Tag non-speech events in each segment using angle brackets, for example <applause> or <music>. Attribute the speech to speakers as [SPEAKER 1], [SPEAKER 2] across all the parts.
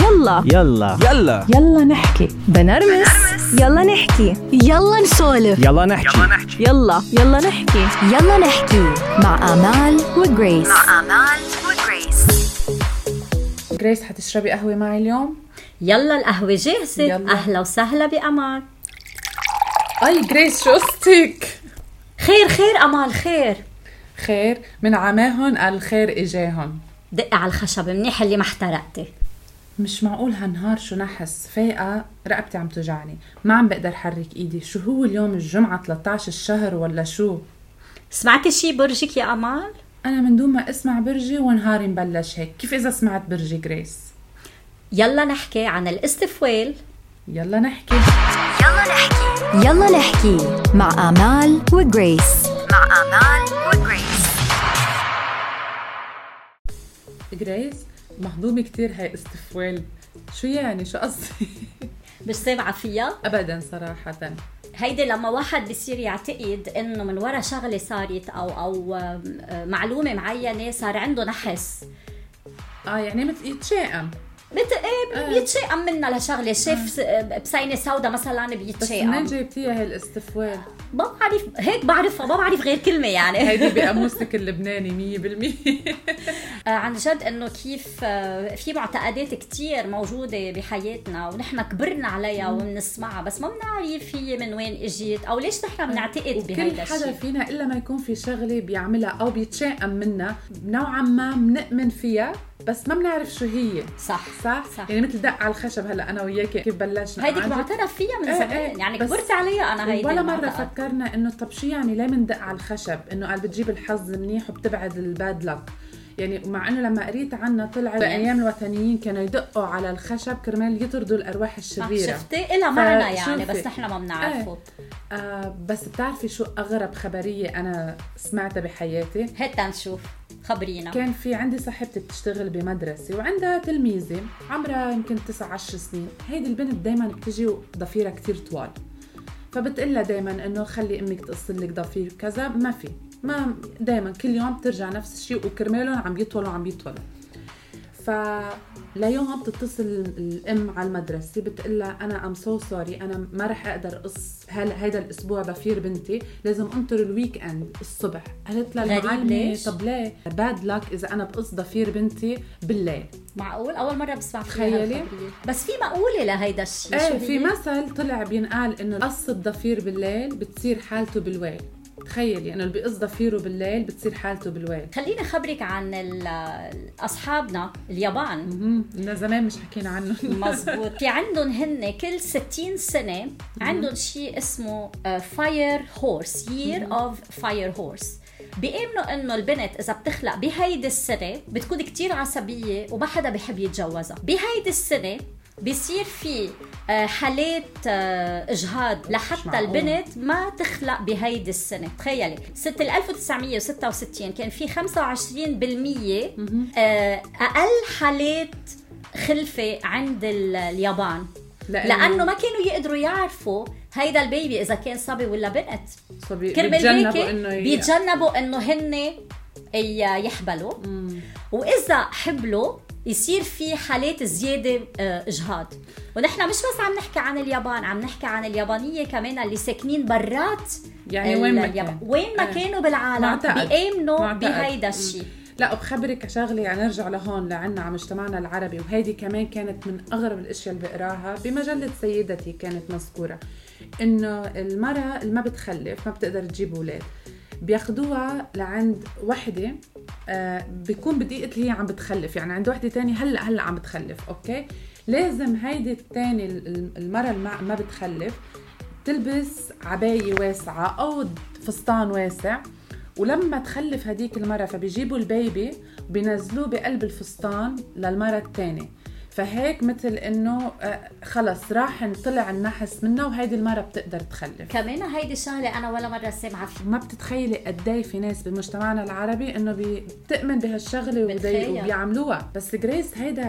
[SPEAKER 1] يلا
[SPEAKER 2] يلا
[SPEAKER 3] يلا
[SPEAKER 4] يلا نحكي
[SPEAKER 1] بنرمس يلا نحكي يلا نسولف
[SPEAKER 2] يلا نحكي
[SPEAKER 1] يلا يلا نحكي
[SPEAKER 5] يلا نحكي مع آمال وجريس
[SPEAKER 4] جريس حتشربي قهوة معي اليوم
[SPEAKER 6] يلا القهوة جاهزة
[SPEAKER 4] يلا.
[SPEAKER 6] أهلا وسهلا بأمال
[SPEAKER 4] أي جريس شو قصتك
[SPEAKER 6] خير خير أمال خير
[SPEAKER 4] خير من عماهن الخير إجاهن
[SPEAKER 6] دقي على الخشب منيح اللي ما احترقتي
[SPEAKER 4] مش معقول هالنهار شو نحس فايقة رقبتي عم توجعني ما عم بقدر حرك ايدي شو هو اليوم الجمعة 13 الشهر ولا شو
[SPEAKER 6] سمعتي شي برجك يا أمال؟
[SPEAKER 4] أنا من دون ما أسمع برجي ونهاري مبلش هيك كيف إذا سمعت برجي جريس
[SPEAKER 6] يلا نحكي عن الاستفوال
[SPEAKER 4] يلا نحكي
[SPEAKER 5] يلا نحكي مع آمال وجريس
[SPEAKER 4] جريس مهضومة كتير هاي استفوال شو يعني شو قصدي <laughs>
[SPEAKER 6] مش سامعة فيها
[SPEAKER 4] أبدا صراحة
[SPEAKER 6] هيدي لما واحد بصير يعتقد انه من ورا شغله صارت او او آم، آم، معلومه معينه صار عنده نحس
[SPEAKER 4] اه يعني مثل يتشائم
[SPEAKER 6] مثل ايه بيتشائم منها لشغله شاف آه، بسينه سودا مثلا
[SPEAKER 4] بس منين
[SPEAKER 6] بيتشائم
[SPEAKER 4] جايبتيها هاي الاستفوال
[SPEAKER 6] ما بعرف هيك بعرفها ما بعرف غير كلمه يعني
[SPEAKER 4] هيدي بقاموسك اللبناني 100%
[SPEAKER 6] آه، عن جد انه كيف آه، في معتقدات كتير موجوده بحياتنا ونحن كبرنا عليها وبنسمعها بس ما بنعرف هي من وين اجت او ليش نحن بنعتقد
[SPEAKER 4] آه، وكل
[SPEAKER 6] بهيدا
[SPEAKER 4] حدا
[SPEAKER 6] الشيء
[SPEAKER 4] فينا الا ما يكون في شغله بيعملها او بيتشائم منها نوعا ما بنؤمن فيها بس ما بنعرف شو هي
[SPEAKER 6] صح
[SPEAKER 4] صح؟
[SPEAKER 6] صح.
[SPEAKER 4] يعني مثل دق على الخشب هلا انا وياك كيف بلشنا
[SPEAKER 6] هيديك
[SPEAKER 4] عن جد
[SPEAKER 6] معترف فيها من
[SPEAKER 4] إيه،
[SPEAKER 6] زمان
[SPEAKER 4] إيه،
[SPEAKER 6] يعني
[SPEAKER 4] بس
[SPEAKER 6] كبرت عليها انا هيدي
[SPEAKER 4] ولا مرة
[SPEAKER 6] المعتقد.
[SPEAKER 4] فكرنا انه طب شو يعني ليه مندق على الخشب؟ انه قال بتجيب الحظ منيح وبتبعد الباد لك يعني مع انه لما قريت عنها طلع بايام الوثنيين كانوا يدقوا على الخشب كرمال يطردوا الارواح الشريره
[SPEAKER 6] شفتي إلها معنى
[SPEAKER 4] فشوفي.
[SPEAKER 6] يعني بس نحن ما بنعرفه
[SPEAKER 4] آه بس بتعرفي شو اغرب خبريه انا سمعتها بحياتي؟
[SPEAKER 6] هات نشوف خبرينا
[SPEAKER 4] كان في عندي صاحبتي بتشتغل بمدرسة وعندها تلميذة عمرها يمكن 9 10 سنين هيدي البنت دايما بتجي ضفيرها كتير طوال فبتقلها دايما انه خلي امك تقص لك ضفير كذا ما في ما دايما كل يوم بترجع نفس الشيء وكرمالهم عم يطولوا عم يطولوا فليوم بتتصل الام على المدرسه بتقول لها انا ام سو سوري انا ما رح اقدر اقص هل هيدا الاسبوع بفير بنتي لازم انطر الويك اند الصبح قالت لها
[SPEAKER 6] غريب
[SPEAKER 4] المعلمه
[SPEAKER 6] ليش؟
[SPEAKER 4] طب ليه باد لك اذا انا بقص ضفير بنتي بالليل
[SPEAKER 6] معقول اول مره بسمع فيها
[SPEAKER 4] تخيلي.
[SPEAKER 6] هالخبرية. بس في مقوله لهيدا الشيء شو
[SPEAKER 4] ايه
[SPEAKER 6] هي؟
[SPEAKER 4] في مثل طلع بينقال انه قص الضفير بالليل بتصير حالته بالويل تخيلي انه اللي بيقص ضفيره بالليل بتصير حالته بالويل
[SPEAKER 6] خليني خبرك عن ال- اصحابنا اليابان
[SPEAKER 4] امم زمان مش حكينا عنه <laughs>
[SPEAKER 6] مزبوط في عندهم هن كل 60 سنه عندهم شيء اسمه آه، فاير هورس يير اوف فاير هورس بيأمنوا انه البنت اذا بتخلق بهيدي السنه بتكون كتير عصبيه وما حدا بحب يتجوزها بهيدي السنه بصير في آه، حالات آه، اجهاض لحتى
[SPEAKER 4] معقول.
[SPEAKER 6] البنت ما تخلق بهيدي السنه تخيلي سنه ال 1966 كان في 25% آه، اقل حالات خلفه عند ال- اليابان
[SPEAKER 4] لأنه-
[SPEAKER 6] لانه ما كانوا يقدروا يعرفوا هيدا البيبي اذا كان صبي ولا بنت
[SPEAKER 4] صبي-
[SPEAKER 6] كرمال
[SPEAKER 4] بيتجنبوا
[SPEAKER 6] هيك
[SPEAKER 4] انه ي-
[SPEAKER 6] بيتجنبوا انه هن ي- يحبلوا واذا حبلوا يصير في حالات زياده آه، اجهاض ونحن مش بس عم نحكي عن اليابان عم نحكي عن اليابانيه كمان اللي ساكنين برات
[SPEAKER 4] يعني
[SPEAKER 6] ال-
[SPEAKER 4] وين ما
[SPEAKER 6] اليابان.
[SPEAKER 4] كان.
[SPEAKER 6] وين ما
[SPEAKER 4] إيه.
[SPEAKER 6] كانوا بالعالم
[SPEAKER 4] معتقد.
[SPEAKER 6] بيامنوا
[SPEAKER 4] معتقد.
[SPEAKER 6] بهيدا الشيء
[SPEAKER 4] لا وبخبرك شغله يعني نرجع لهون لعنا على مجتمعنا العربي وهيدي كمان كانت من اغرب الاشياء اللي بقراها بمجله سيدتي كانت مذكوره انه المراه اللي ما بتخلف ما بتقدر تجيب اولاد بياخدوها لعند وحده آه بيكون بدقيقه اللي هي عم بتخلف يعني عند وحده تانية هلا هلا عم بتخلف اوكي لازم هيدي الثانيه المراه اللي ما- ما بتخلف تلبس عباية واسعة أو فستان واسع ولما تخلف هديك المرة فبيجيبوا البيبي بينزلوه بقلب الفستان للمرة الثانية فهيك مثل انه آه، خلص راح طلع النحس منه وهيدي المرة بتقدر تخلف
[SPEAKER 6] كمان هيدي الشغله انا ولا مره سامعه فيها
[SPEAKER 4] ما بتتخيلي قد ايه في ناس بمجتمعنا العربي انه بي- بتؤمن بهالشغله وبي-
[SPEAKER 6] بتخيل.
[SPEAKER 4] وبيعملوها بس جريس هيدا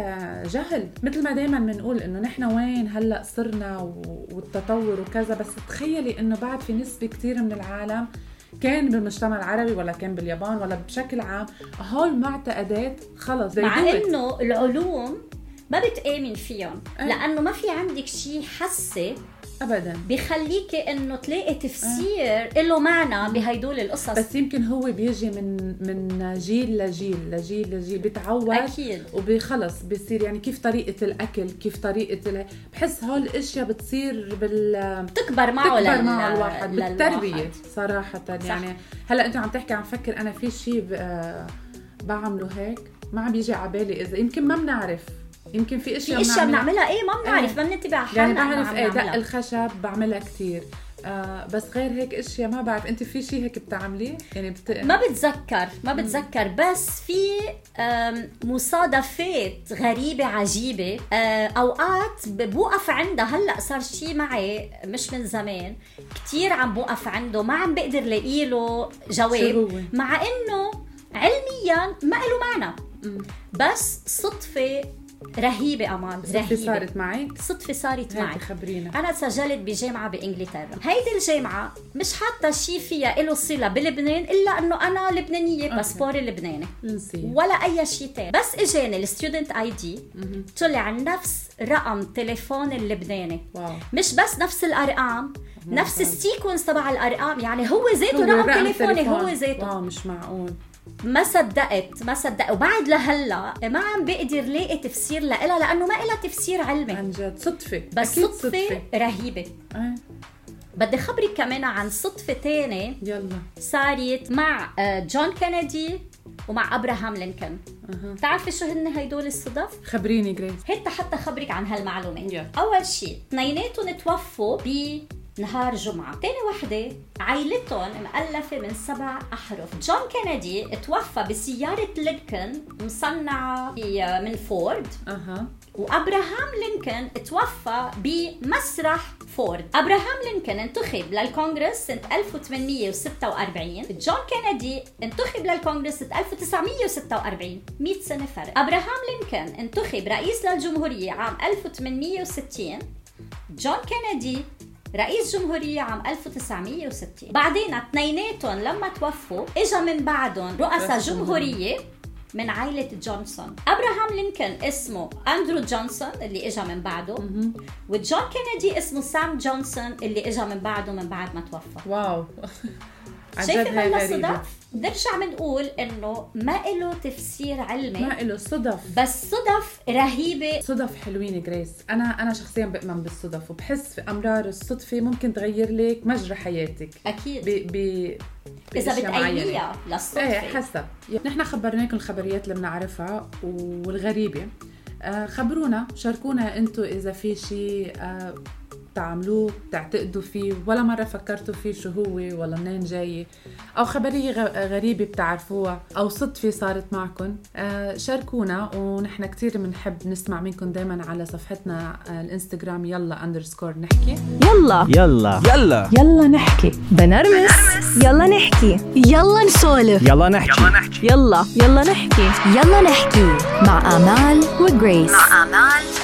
[SPEAKER 4] جهل مثل ما دائما بنقول انه نحن وين هلا صرنا و- والتطور وكذا بس تخيلي انه بعد في نسبه كثير من العالم كان بالمجتمع العربي ولا كان باليابان ولا بشكل عام هول معتقدات خلص they
[SPEAKER 6] مع
[SPEAKER 4] do it.
[SPEAKER 6] انه العلوم ما بتآمن فيهم
[SPEAKER 4] إيه.
[SPEAKER 6] لأنه ما في عندك شيء حسي
[SPEAKER 4] ابدا
[SPEAKER 6] بخليكي انه تلاقي تفسير له معنى بهدول القصص
[SPEAKER 4] بس يمكن هو بيجي من من جيل لجيل لجيل لجيل بتعود
[SPEAKER 6] أكيد.
[SPEAKER 4] وبخلص بصير يعني كيف طريقه الاكل كيف طريقه ال... بحس هول الاشياء بتصير بال
[SPEAKER 6] بتكبر معه
[SPEAKER 4] تكبر
[SPEAKER 6] لل-
[SPEAKER 4] مع الواحد
[SPEAKER 6] للواحد.
[SPEAKER 4] بالتربيه صراحه
[SPEAKER 6] صح.
[SPEAKER 4] يعني هلا انت عم تحكي عم فكر انا في شيء ب- آه، بعمله هيك ما عم بيجي على بالي اذا يمكن ما بنعرف يمكن في اشياء
[SPEAKER 6] في اشياء بنعملها ايه ما بنعرف
[SPEAKER 4] إيه.
[SPEAKER 6] ما بننتبه على
[SPEAKER 4] يعني
[SPEAKER 6] حالنا إنه
[SPEAKER 4] بعرف
[SPEAKER 6] عم
[SPEAKER 4] ايه دق
[SPEAKER 6] نعملها.
[SPEAKER 4] الخشب بعملها كثير آه بس غير هيك اشياء ما بعرف انت في شيء هيك بتعمليه يعني بت...
[SPEAKER 6] ما بتذكر ما بتذكر بس في أم، مصادفات غريبة عجيبة أه، أوقات ب- بوقف عندها هلأ صار شي معي مش من زمان كتير عم بوقف عنده ما عم بقدر لاقي له
[SPEAKER 4] شو هو؟
[SPEAKER 6] جواب مع إنه علميا ما له معنى بس صدفة رهيبة أمال
[SPEAKER 4] صدفة
[SPEAKER 6] رهيبة
[SPEAKER 4] صارت معك
[SPEAKER 6] صدفة صارت
[SPEAKER 4] هيك
[SPEAKER 6] معي
[SPEAKER 4] خبرينا
[SPEAKER 6] انا تسجلت بجامعه بانجلترا هيدي الجامعه مش حاطه شيء فيها له صله بلبنان الا انه انا لبنانيه
[SPEAKER 4] أوكي.
[SPEAKER 6] باسبوري لبناني
[SPEAKER 4] نسي
[SPEAKER 6] ولا اي شيء تاني بس اجاني الستودنت اي دي طلع نفس رقم تليفون اللبناني
[SPEAKER 4] واو
[SPEAKER 6] مش بس نفس الارقام نفس السيكونس تبع الارقام يعني هو ذاته
[SPEAKER 4] هو
[SPEAKER 6] رقم تليفوني هو
[SPEAKER 4] تليفون.
[SPEAKER 6] ذاته
[SPEAKER 4] واو مش معقول
[SPEAKER 6] ما صدقت ما صدقت وبعد لهلا ما عم بقدر لاقي تفسير لها لانه ما لها تفسير علمي
[SPEAKER 4] عن جد صدفة
[SPEAKER 6] بس
[SPEAKER 4] أكيد
[SPEAKER 6] صدفه رهيبه
[SPEAKER 4] ايه
[SPEAKER 6] بدي خبرك كمان عن صدفة تانية
[SPEAKER 4] يلا
[SPEAKER 6] صارت مع آه، جون كينيدي ومع ابراهام لينكولن بتعرفي شو هن هدول الصدف؟
[SPEAKER 4] خبريني جريس
[SPEAKER 6] هيك حتى خبرك عن هالمعلومات
[SPEAKER 4] يلا.
[SPEAKER 6] اول شيء اثنيناتهم توفوا بنهار جمعة تاني وحدة عائلتهم مؤلفة من سبع أحرف جون كينيدي توفى بسيارة لينكولن مصنعة في- آه، من فورد
[SPEAKER 4] اها
[SPEAKER 6] وابراهام لينكولن توفى بمسرح فورد ابراهام لينكولن انتخب للكونغرس سنة 1846 جون كينيدي انتخب للكونغرس سنة 1946 100 سنة فرق ابراهام لينكولن انتخب رئيس للجمهورية عام 1860 جون كينيدي رئيس جمهورية عام 1960 بعدين اثنيناتهم لما توفوا اجا من بعدهم رؤساء
[SPEAKER 4] رئيس جمهورية.
[SPEAKER 6] جمهورية الجمهورية من عائلة جونسون أبراهام لينكولن اسمه أندرو جونسون اللي إجا من بعده وجون كينيدي اسمه سام جونسون اللي إجا من بعده من بعد ما توفى
[SPEAKER 4] واو <laughs> عن جد
[SPEAKER 6] شايفة
[SPEAKER 4] هاي
[SPEAKER 6] من
[SPEAKER 4] غريبة.
[SPEAKER 6] الصدف بنرجع بنقول إنه ما إله تفسير علمي
[SPEAKER 4] ما له صدف
[SPEAKER 6] بس صدف رهيبة
[SPEAKER 4] صدف حلوين جريس انا انا شخصيا بامن بالصدف وبحس في امرار الصدفه ممكن تغير لك مجرى حياتك ب
[SPEAKER 6] أكيد
[SPEAKER 4] ب
[SPEAKER 6] إذا
[SPEAKER 4] بأشياء معينة.
[SPEAKER 6] بتأيديها
[SPEAKER 4] ايه
[SPEAKER 6] للصدفة
[SPEAKER 4] حسب نحن خبرناكم الخبريات اللي بنعرفها والغريبه آه، خبرونا شاركونا انتم اذا في شيء آه، بتعملوه بتعتقدوا فيه ولا مرة فكرتوا فيه شو هو ولا منين جاي أو خبرية غ- غريبة بتعرفوها أو صدفة صارت معكم آه، شاركونا ونحن كتير بنحب نسمع منكم دايما على صفحتنا آه، الانستغرام يلا اندرسكور نحكي
[SPEAKER 1] يلا
[SPEAKER 2] يلا يلا
[SPEAKER 1] يلا نحكي بنرمس يلا نحكي يلا نسولف
[SPEAKER 2] يلا نحكي
[SPEAKER 1] يلا يلا نحكي
[SPEAKER 5] يلا نحكي مع آمال وجريس مع آمال